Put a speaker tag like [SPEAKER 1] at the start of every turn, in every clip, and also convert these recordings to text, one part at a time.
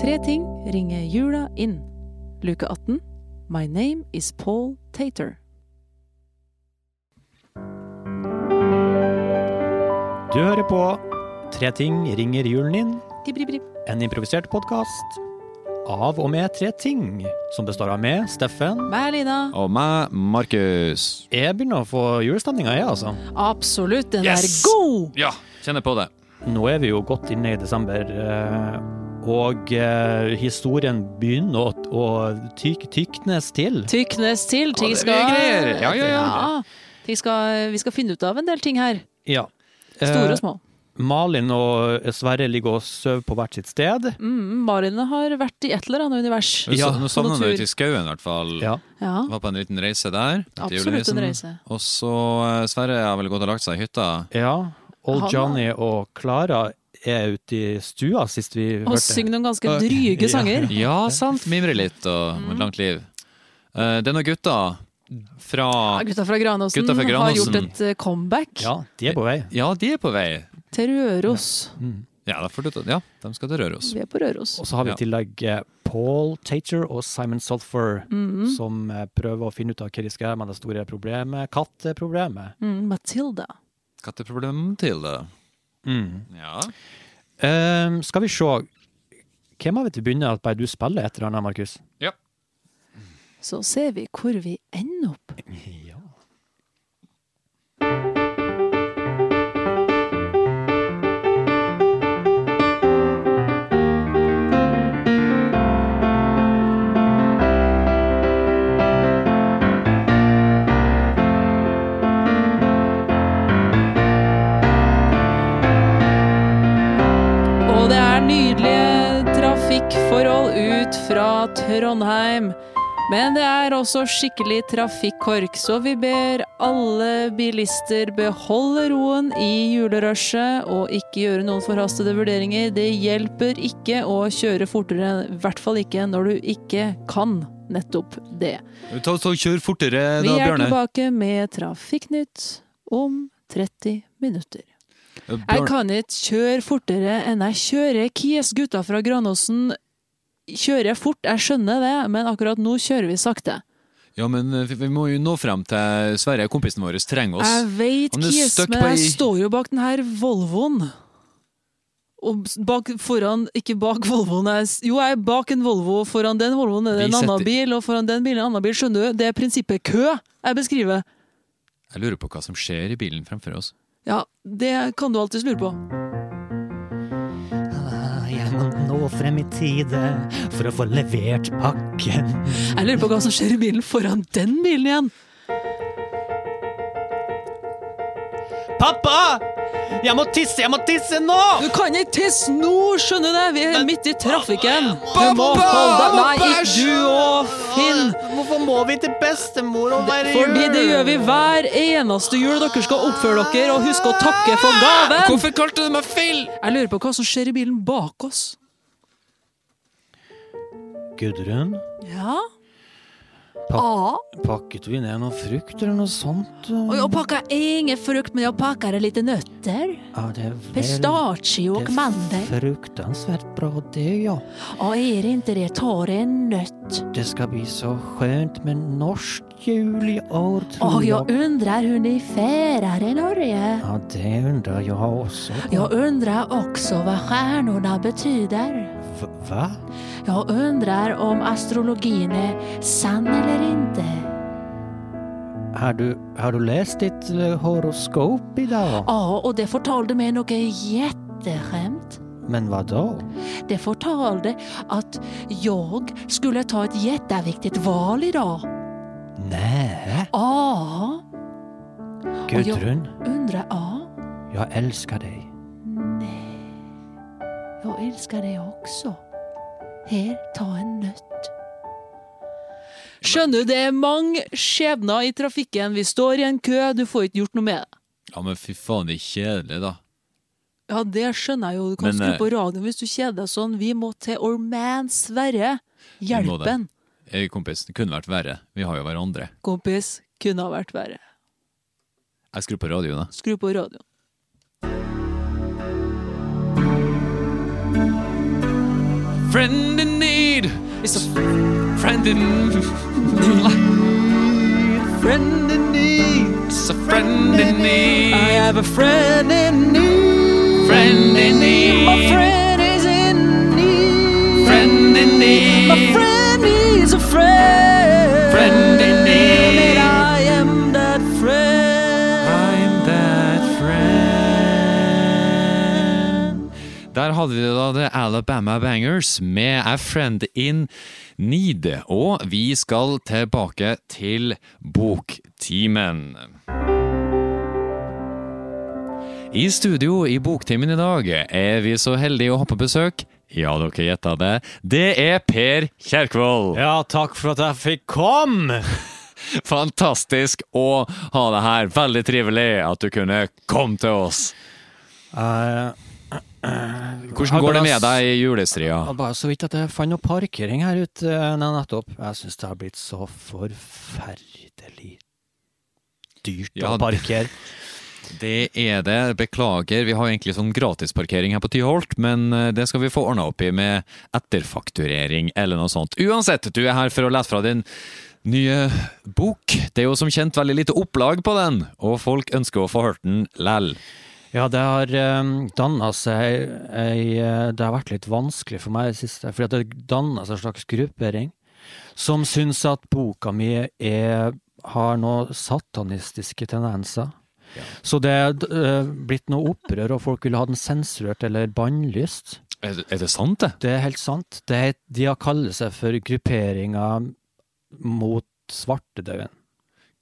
[SPEAKER 1] Tre ting ringer jula inn. Luke 18. My name is Paul Tater.
[SPEAKER 2] Du hører på Tre ting ringer julen inn,
[SPEAKER 1] Tibribrib.
[SPEAKER 2] en improvisert podkast av og med tre ting, som består av meg, Steffen.
[SPEAKER 1] Berlina.
[SPEAKER 3] Og meg, Markus.
[SPEAKER 2] Jeg begynner å få julestemninga, jeg, altså.
[SPEAKER 1] Absolutt, den
[SPEAKER 3] Yes!
[SPEAKER 1] er god!
[SPEAKER 3] Ja, kjenner på det.
[SPEAKER 2] Nå er vi jo godt inne i desember, eh, og eh, historien begynner å, å tyk, tyknes til.
[SPEAKER 1] Tyknes til. Ting
[SPEAKER 3] det er
[SPEAKER 1] skal
[SPEAKER 3] mye greier. Ja, ja, ja.
[SPEAKER 1] ting skal, vi skal finne ut av en del ting her.
[SPEAKER 2] Ja.
[SPEAKER 1] Store
[SPEAKER 2] Eh,
[SPEAKER 1] og små.
[SPEAKER 2] Malin og Sverre ligger og sover på hvert sitt sted.
[SPEAKER 1] Mm, Marine har vært i et eller annet univers.
[SPEAKER 2] Ja,
[SPEAKER 3] nå
[SPEAKER 1] på tur.
[SPEAKER 3] savner han deg ute i skauen, i hvert fall.
[SPEAKER 2] Ja.
[SPEAKER 1] Ja,
[SPEAKER 3] Var på en liten reise der. til
[SPEAKER 1] absolutt en
[SPEAKER 3] julenissen.
[SPEAKER 1] reise.
[SPEAKER 3] Og så eh, Sverre har vel gått og lagt seg i hytta.
[SPEAKER 2] ja. Old
[SPEAKER 1] Han-
[SPEAKER 2] Johnny og Klara er ute i stua sist vi
[SPEAKER 1] Og
[SPEAKER 2] hørte.
[SPEAKER 1] syng noen ganske
[SPEAKER 2] Ja.
[SPEAKER 1] dryge
[SPEAKER 2] Ja.
[SPEAKER 1] sanger.
[SPEAKER 3] Ja, sant. Mimre litt og
[SPEAKER 1] Mm.
[SPEAKER 3] med et langt liv. Eh, Det er noen gutter fra
[SPEAKER 1] Ja, gutta fra Granåsen,
[SPEAKER 3] Gutta fra
[SPEAKER 1] har
[SPEAKER 3] Granåsen.
[SPEAKER 1] gjort et eh, comeback
[SPEAKER 2] Ja, de er på vei.
[SPEAKER 3] Ja, de er på vei.
[SPEAKER 1] til Røros.
[SPEAKER 3] Ja, da får du ta Ja, de skal til Røros.
[SPEAKER 1] Vi er på Røros.
[SPEAKER 2] Og så har vi i
[SPEAKER 3] Ja.
[SPEAKER 2] tillegg eh, Paul Tater og Simon Sulphur, som eh, prøver å finne ut av hva de skal gjøre med det store problemet, katteproblemet.
[SPEAKER 1] Mm, Matilda.
[SPEAKER 3] Katteproblemet til det.
[SPEAKER 2] Mm.
[SPEAKER 3] Ja.
[SPEAKER 2] Eh, skal vi se Hvem av vi begynner at bare du spiller et eller annet, Markus?
[SPEAKER 1] Så ser vi hvor vi ender opp.
[SPEAKER 2] Ja.
[SPEAKER 1] Og det er nydelige trafikkforhold ut fra Trondheim. Men det er også skikkelig trafikkork, så vi ber alle bilister beholde roen i julerushet og ikke gjøre noen forhastede vurderinger. Det hjelper ikke å kjøre fortere, i hvert fall ikke når du ikke kan nettopp det.
[SPEAKER 3] Eh, Ta, ta, kjør fortere,
[SPEAKER 1] Vi
[SPEAKER 3] da,
[SPEAKER 1] er
[SPEAKER 3] Bjørne.
[SPEAKER 1] tilbake med Trafikknytt om 30 minutter.
[SPEAKER 3] Eh,
[SPEAKER 1] Jeg
[SPEAKER 3] Bjørn,
[SPEAKER 1] kan ikke kjøre fortere enn jeg kjører. Kies gutta fra Granåsen kjører jeg fort, jeg skjønner det, men akkurat nå kjører vi sakte.
[SPEAKER 3] ja, men eh, vi- vi må jo nå frem til Sverre. Kompisen vår trenger oss.
[SPEAKER 1] Jeg veit,
[SPEAKER 3] Han er
[SPEAKER 1] Kies,
[SPEAKER 3] stuck
[SPEAKER 1] men
[SPEAKER 3] på
[SPEAKER 1] jeg
[SPEAKER 3] ei-
[SPEAKER 1] står jo bak den her Volvoen. Og bak, foran, ikke bak Volvoen jeg, s- Jo, jeg er bak en Volvo, og foran den Volvoen er det
[SPEAKER 3] Vi
[SPEAKER 1] en annen
[SPEAKER 3] setter-
[SPEAKER 1] bil, og foran den bilen en annen bil. Skjønner du? Det er prinsippet kø jeg beskriver.
[SPEAKER 3] Jeg lurer på hva som skjer i bilen fremfor oss.
[SPEAKER 1] Ja, det kan du alltids lure på.
[SPEAKER 2] Ah, Jeg må nå frem i tide for å få levert pakken.
[SPEAKER 1] Jeg lurer på hva som skjer i bilen foran den bilen igjen.
[SPEAKER 2] Pappa! Jeg må tisse! Jeg må tisse nå!
[SPEAKER 1] Du kan ikke tisse nå, skjønner du! Vi er midt i trafikken. Du må
[SPEAKER 2] Pappa,
[SPEAKER 1] holde deg
[SPEAKER 2] jeg må
[SPEAKER 1] Nei, ikke du òg, Finn!
[SPEAKER 2] Hvorfor må vi til bestemor og være
[SPEAKER 1] Fordi Ah, det gjør vi hver eneste jul. Dere skal oppføre dere og huske å takke for gaven.
[SPEAKER 3] Hvorfor kalte du meg feil?
[SPEAKER 1] Jeg lurer på hva som skjer i bilen bak oss.
[SPEAKER 2] Gudrun,
[SPEAKER 1] Ja?
[SPEAKER 2] Pa-
[SPEAKER 1] Ah.
[SPEAKER 2] pakket vi ned noe frukt eller noe sånt?
[SPEAKER 1] Og jeg pakker ingen frukt, men jeg pakker litt nøtter.
[SPEAKER 2] Ja, det er vel-
[SPEAKER 1] Pistasje og mandel.
[SPEAKER 2] fruktansvært bra, det, ja.
[SPEAKER 1] Og er det ikke det, tar jeg en nøtt.
[SPEAKER 2] Det skal bli så skjønt med norsk jul i år,
[SPEAKER 1] Og jeg undrer hvordan de feirer i Norge.
[SPEAKER 2] Ja, det undrer jeg også.
[SPEAKER 1] Jag undrar också vad stjärnorna betyder.
[SPEAKER 2] Hva?
[SPEAKER 1] Jag undrar om astrologin är sann eller inte.
[SPEAKER 2] Har du, har du lest ditt eh, horoskop i dag?
[SPEAKER 1] Ja, och det fortalde mig något jätteskämt.
[SPEAKER 2] Men hva da?
[SPEAKER 1] Det fortalde att jag skulle ta ett jätteviktigt val idag.
[SPEAKER 2] Nei,
[SPEAKER 1] Ja, jeg-
[SPEAKER 2] Gudrun,
[SPEAKER 1] undrar... Ja,
[SPEAKER 2] jeg elsker deg.
[SPEAKER 1] nej. Jag älskar dig också. Här, ta en nöt. Skjønner du, det er mange skjebner i trafikken. Vi står i en kø, du får ikke gjort noe med det.
[SPEAKER 3] Ja, men fy faen, det er kjedelig, da.
[SPEAKER 1] Ja, det skjønner jeg jo. Du kan
[SPEAKER 3] Men,
[SPEAKER 1] skru
[SPEAKER 3] eh,
[SPEAKER 1] på radioen hvis du kjeder deg sånn. Vi må til Our Man Sverre.
[SPEAKER 3] må det.
[SPEAKER 1] Hjelpen,
[SPEAKER 3] Jeg, kompis, det kunne vært verre. Vi har jo hverandre.
[SPEAKER 1] kompis. Kunne ha vært verre.
[SPEAKER 3] Jeg skrur på radioen, da.
[SPEAKER 1] Skru på radioen.
[SPEAKER 3] friend in need is a friend in life.
[SPEAKER 2] Friend in need.
[SPEAKER 3] It's a friend in
[SPEAKER 2] I
[SPEAKER 3] need.
[SPEAKER 2] have a friend in need.
[SPEAKER 3] Friend in need.
[SPEAKER 2] My friend is in need.
[SPEAKER 3] Friend in need.
[SPEAKER 2] My friend is a friend.
[SPEAKER 3] Friend in need.
[SPEAKER 2] And I am that friend.
[SPEAKER 3] I'm that friend. Der hadde vi da The Alabama Bangers med A Friend In Need. Og vi skal tilbake til Boktimen. I studio i Boktimen i dag er vi så heldige å ha på besøk Ja, dere gjetta det. Det er Per Kjerkvold.
[SPEAKER 2] Ja, takk for at jeg fikk komme.
[SPEAKER 3] Fantastisk å ha deg her. Veldig trivelig at du kunne komme til oss.
[SPEAKER 2] Eh,
[SPEAKER 3] Hvordan går det med deg i julestria?
[SPEAKER 2] Det var bare så vidt at jeg fant noe parkering her ute eh, nå nettopp. Jeg syns det har blitt så forferdelig dyrt
[SPEAKER 3] Ja,
[SPEAKER 2] å parkere.
[SPEAKER 3] Det er det. Beklager, vi har egentlig sånn gratisparkering her på Tyholt, men eh, det skal vi få ordna opp i med etterfakturering eller noe sånt. Uansett, du er her for å lese fra din nye bok. Det er jo som kjent veldig lite opplag på den, og folk ønsker å få hørt den læll.
[SPEAKER 2] Ja, det har um, danna seg ei eh, Det har vært litt vanskelig for meg i det siste, fordi at det har danna seg en slags gruppering som syns at boka mi er, har noen satanistiske tendenser. Så det er eh, blitt noe opprør, og folk vil ha den sensurert eller bannlyst.
[SPEAKER 3] Er, det- er det sant, det?
[SPEAKER 2] Det er helt sant. Det er, de har kaller seg for grupperinga mot svartedauden.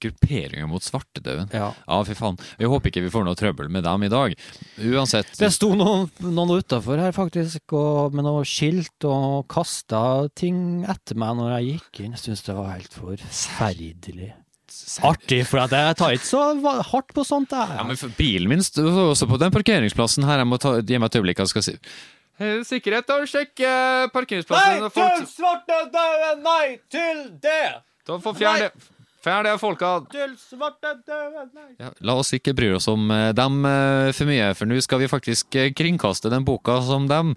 [SPEAKER 3] Grupperinga mot svartedauden.
[SPEAKER 2] Ja.
[SPEAKER 3] Ja, fy faen. Vi håper ikke vi får noe trøbbel med dem i dag. Uansett
[SPEAKER 2] Det sto noen, noen utafor her, faktisk, og, med noe skilt, og kasta ting etter meg når jeg gikk inn. Jeg syns det var helt forferdelig. Artig, for at jeg tar ikke så va- hardt på sånt,
[SPEAKER 3] Ja,
[SPEAKER 2] jeg.
[SPEAKER 3] men for bilen min står også på den parkeringsplassen her. Jeg må ta, gi meg et øyeblikk. Jeg skal si Eh, Sikkerhet, da. Sjekk parkeringsplassen.
[SPEAKER 2] svartedauden! Nei til det!
[SPEAKER 3] Da får
[SPEAKER 2] fjerne-
[SPEAKER 3] Fjern det, folka.
[SPEAKER 2] Til svartedauden, nei!
[SPEAKER 3] Ja, la oss ikke bry oss om eh, dem eh, for mye, for nå skal vi faktisk eh, kringkaste den boka som dem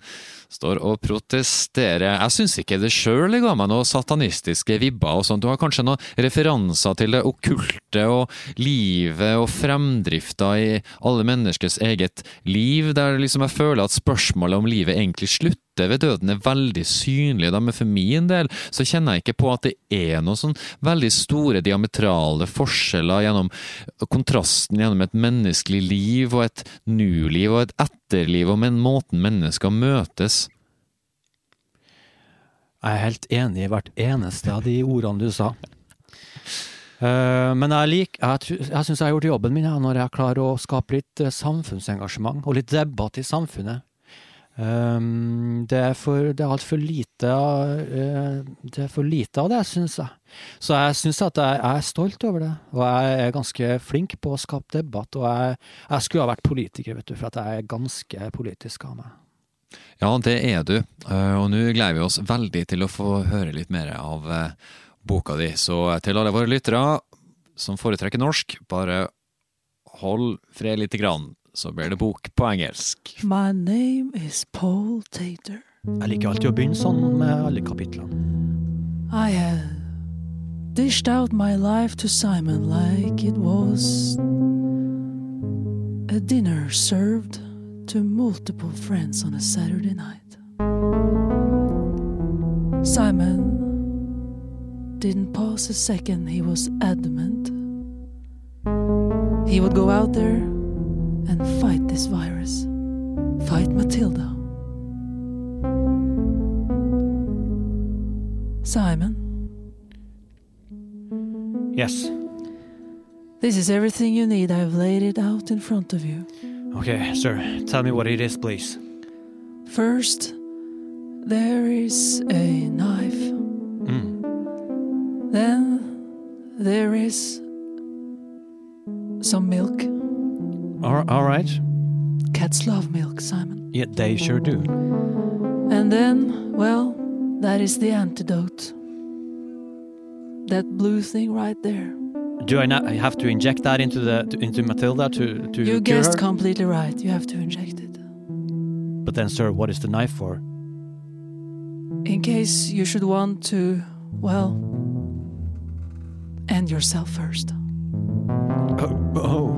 [SPEAKER 3] står og protesterer. Jeg syns ikke det sjøl ga meg noe satanistiske vibber og sånt. Du har kanskje noen referanser til det okkulte og livet og fremdrifta i alle menneskers eget liv, der liksom jeg føler at spørsmålet om livet egentlig slutter. Ved døden er veldig synlige, da, men for min del så kjenner jeg ikke på at det er noen sånn veldig store diametrale forskjeller gjennom kontrasten gjennom et menneskelig liv og et nuliv og et etterliv og men måten mennesker møtes.
[SPEAKER 2] Jeg er helt enig i hvert eneste av de ordene du sa. Eh, men jeg, lik, jeg, tru- jeg syns jeg har gjort jobben min jeg, når jeg klarer å skape litt eh, samfunnsengasjement og litt debatt i samfunnet. Eh, det er for det er altfor lite, av, eh, det er for lite av det, syns jeg. Så jeg syns at jeg, jeg er stolt over det, og jeg er ganske flink på å skape debatt. Og jeg, jeg skulle ha vært politiker, vet du, for at jeg er ganske politisk av meg.
[SPEAKER 3] Ja, det er du, Eh, og nå gleder vi oss veldig til å få høre litt mer av eh, boka di. Så eh, til alle våre lyttere som foretrekker norsk, bare hold fred lite grann, så blir det bok på engelsk.
[SPEAKER 1] My name is Paul Tater.
[SPEAKER 2] Jeg liker alltid å begynne sånn med alle kapitlene.
[SPEAKER 1] I had dished out my life to Simon like it was a dinner served to multiple friends on a Saturday night. Simon didn't pause a second, he was adamant. He would go out there and fight this virus, fight Matilda. Simon.
[SPEAKER 2] Yes.
[SPEAKER 1] This is everything you need. I've laid it out in front of you.
[SPEAKER 2] Okay, sir, tell me what it is, please.
[SPEAKER 1] First, there is a knife.
[SPEAKER 2] Mm.
[SPEAKER 1] Then, there is some milk.
[SPEAKER 2] All, all right.
[SPEAKER 1] Cats love milk, Simon.
[SPEAKER 2] Yeah, they sure do.
[SPEAKER 1] And then, well, that is the antidote. That blue thing right there.
[SPEAKER 2] Do I not I have to inject that into the to, into Matilda to to
[SPEAKER 1] You
[SPEAKER 2] cure
[SPEAKER 1] guessed
[SPEAKER 2] her?
[SPEAKER 1] completely right. You have to inject it.
[SPEAKER 2] But then, sir, what is the knife for?
[SPEAKER 1] in case you should want to, well, end yourself first.
[SPEAKER 2] Oh,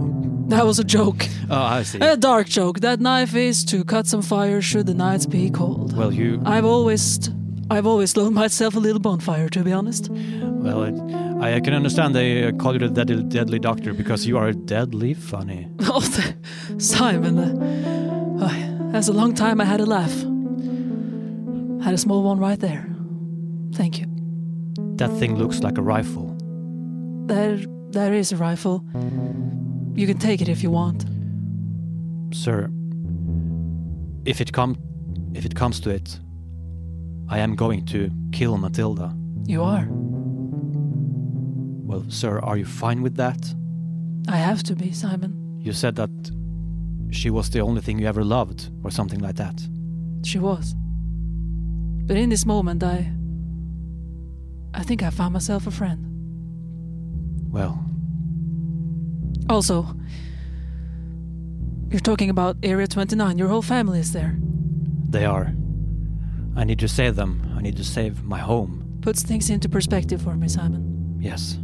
[SPEAKER 1] That was a joke.
[SPEAKER 2] I see.
[SPEAKER 1] A dark joke. That knife is to cut some fire should the nights be cold.
[SPEAKER 2] Well, you.
[SPEAKER 1] I've always, I've always loaned myself a little bonfire, to be honest.
[SPEAKER 2] Well, it, I can understand they uh, call you the deadly, deadly doctor because you are deadly funny.
[SPEAKER 1] Oh, th- Simon. uh, oh, that's a long time I had a laugh. Had a small one right there. Thank you.
[SPEAKER 2] That thing looks like a rifle.
[SPEAKER 1] There, there is a rifle. You can take it if you want.
[SPEAKER 2] Sir, if it come if it comes to it, I am going to kill Matilda.
[SPEAKER 1] You are.
[SPEAKER 2] Well, sir, are you fine with that?
[SPEAKER 1] I have to be, Simon.
[SPEAKER 2] You said that she was the only thing you ever loved, or something like that.
[SPEAKER 1] She was. But in this moment, I. I think I found myself a friend.
[SPEAKER 2] Well,
[SPEAKER 1] Also, you're talking about Area 29. Your whole family is there.
[SPEAKER 2] they are. I need to save them. I need to save my home.
[SPEAKER 1] Puts things into perspective for me, Simon.
[SPEAKER 2] Yes.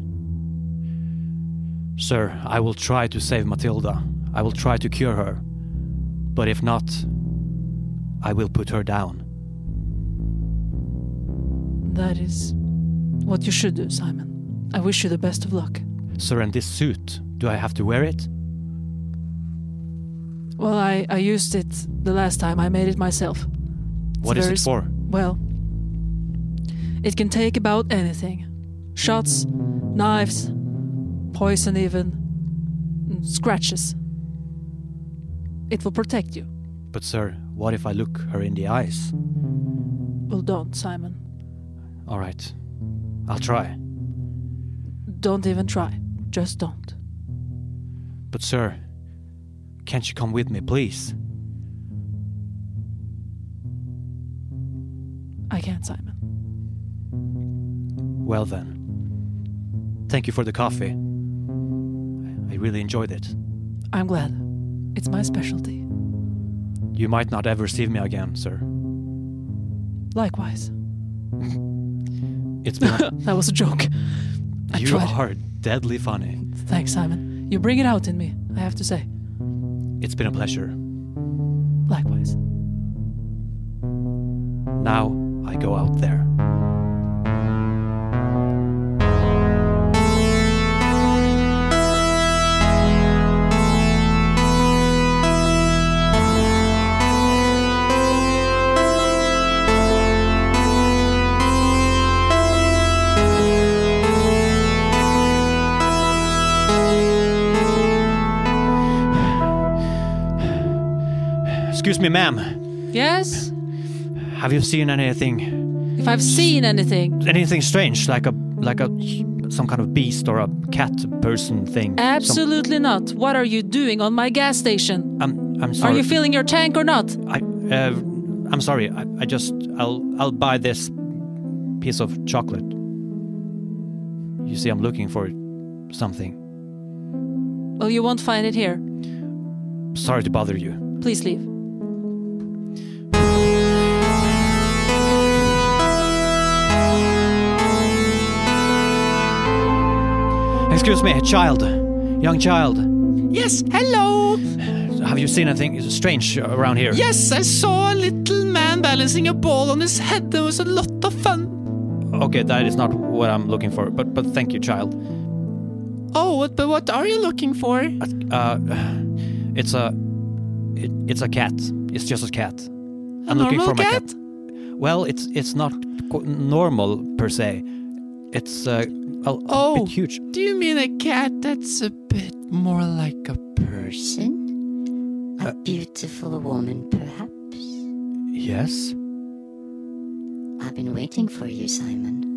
[SPEAKER 2] Sir, I will try to save Matilda. I will try to cure her. But if not, I will put her down.
[SPEAKER 1] That is what you should do, Simon. I wish you the best of luck.
[SPEAKER 2] Sir, and this suit, do I have to wear it?
[SPEAKER 1] Well, I, I used it the last time. I made it myself.
[SPEAKER 2] What is
[SPEAKER 1] very
[SPEAKER 2] it
[SPEAKER 1] sp-
[SPEAKER 2] for?
[SPEAKER 1] Well, it can take about anything shots, knives, poison, even and scratches. It will protect you.
[SPEAKER 2] But, sir, what if I look her in the eyes?
[SPEAKER 1] Well, don't, Simon.
[SPEAKER 2] All right. I'll try.
[SPEAKER 1] Don't even try. Just don't.
[SPEAKER 2] But, sir, can't you come with me, please?
[SPEAKER 1] I can't, Simon.
[SPEAKER 2] Well, then. Thank you for the coffee. I really enjoyed it.
[SPEAKER 1] I'm glad. It's my specialty.
[SPEAKER 2] You might not ever see me again, sir.
[SPEAKER 1] Likewise.
[SPEAKER 2] It's been a-
[SPEAKER 1] That was a joke. I
[SPEAKER 2] you
[SPEAKER 1] tried.
[SPEAKER 2] are deadly funny.
[SPEAKER 1] Thanks, Simon. You bring it out in me, I have to say.
[SPEAKER 2] It's been a pleasure.
[SPEAKER 1] Likewise.
[SPEAKER 2] Now I go out there. Excuse me, ma'am.
[SPEAKER 1] Yes?
[SPEAKER 2] Have you seen anything
[SPEAKER 1] If I've seen anything,
[SPEAKER 2] anything strange, like a like a some kind of beast or a cat person thing. Some-
[SPEAKER 1] absolutely not. What are you doing on my gas station?
[SPEAKER 2] I'm I'm
[SPEAKER 1] Are
[SPEAKER 2] sorry.
[SPEAKER 1] you filling your tank or not?
[SPEAKER 2] I, uh, I'm sorry. I, I just I'll I'll buy this piece of chocolate. You see, I'm looking for something.
[SPEAKER 1] Well, Oh, you won't find it here.
[SPEAKER 2] Sorry to bother you.
[SPEAKER 1] Please leave.
[SPEAKER 2] Excuse me, child, young child.
[SPEAKER 3] Yes, hello!
[SPEAKER 2] Have you seen anything strange around here?
[SPEAKER 3] Yes, I saw a little man balancing a ball on his head. It was a lot of fun.
[SPEAKER 2] Okay, that is not what I'm looking for. But but thank you, child.
[SPEAKER 3] Oh, what, but what are you looking for?
[SPEAKER 2] Uh, it's a it, it's a cat. It's just a cat.
[SPEAKER 3] A
[SPEAKER 2] I'm looking for
[SPEAKER 3] normal
[SPEAKER 2] my cat. Well, it's it's not qu- normal per se. It's uh, a, a
[SPEAKER 3] Oh.
[SPEAKER 2] bit huge.
[SPEAKER 3] Do you mean a cat that's a bit more like a person?
[SPEAKER 4] Person? A beautiful woman, perhaps?
[SPEAKER 2] Yes.
[SPEAKER 4] I've been waiting for you, Simon.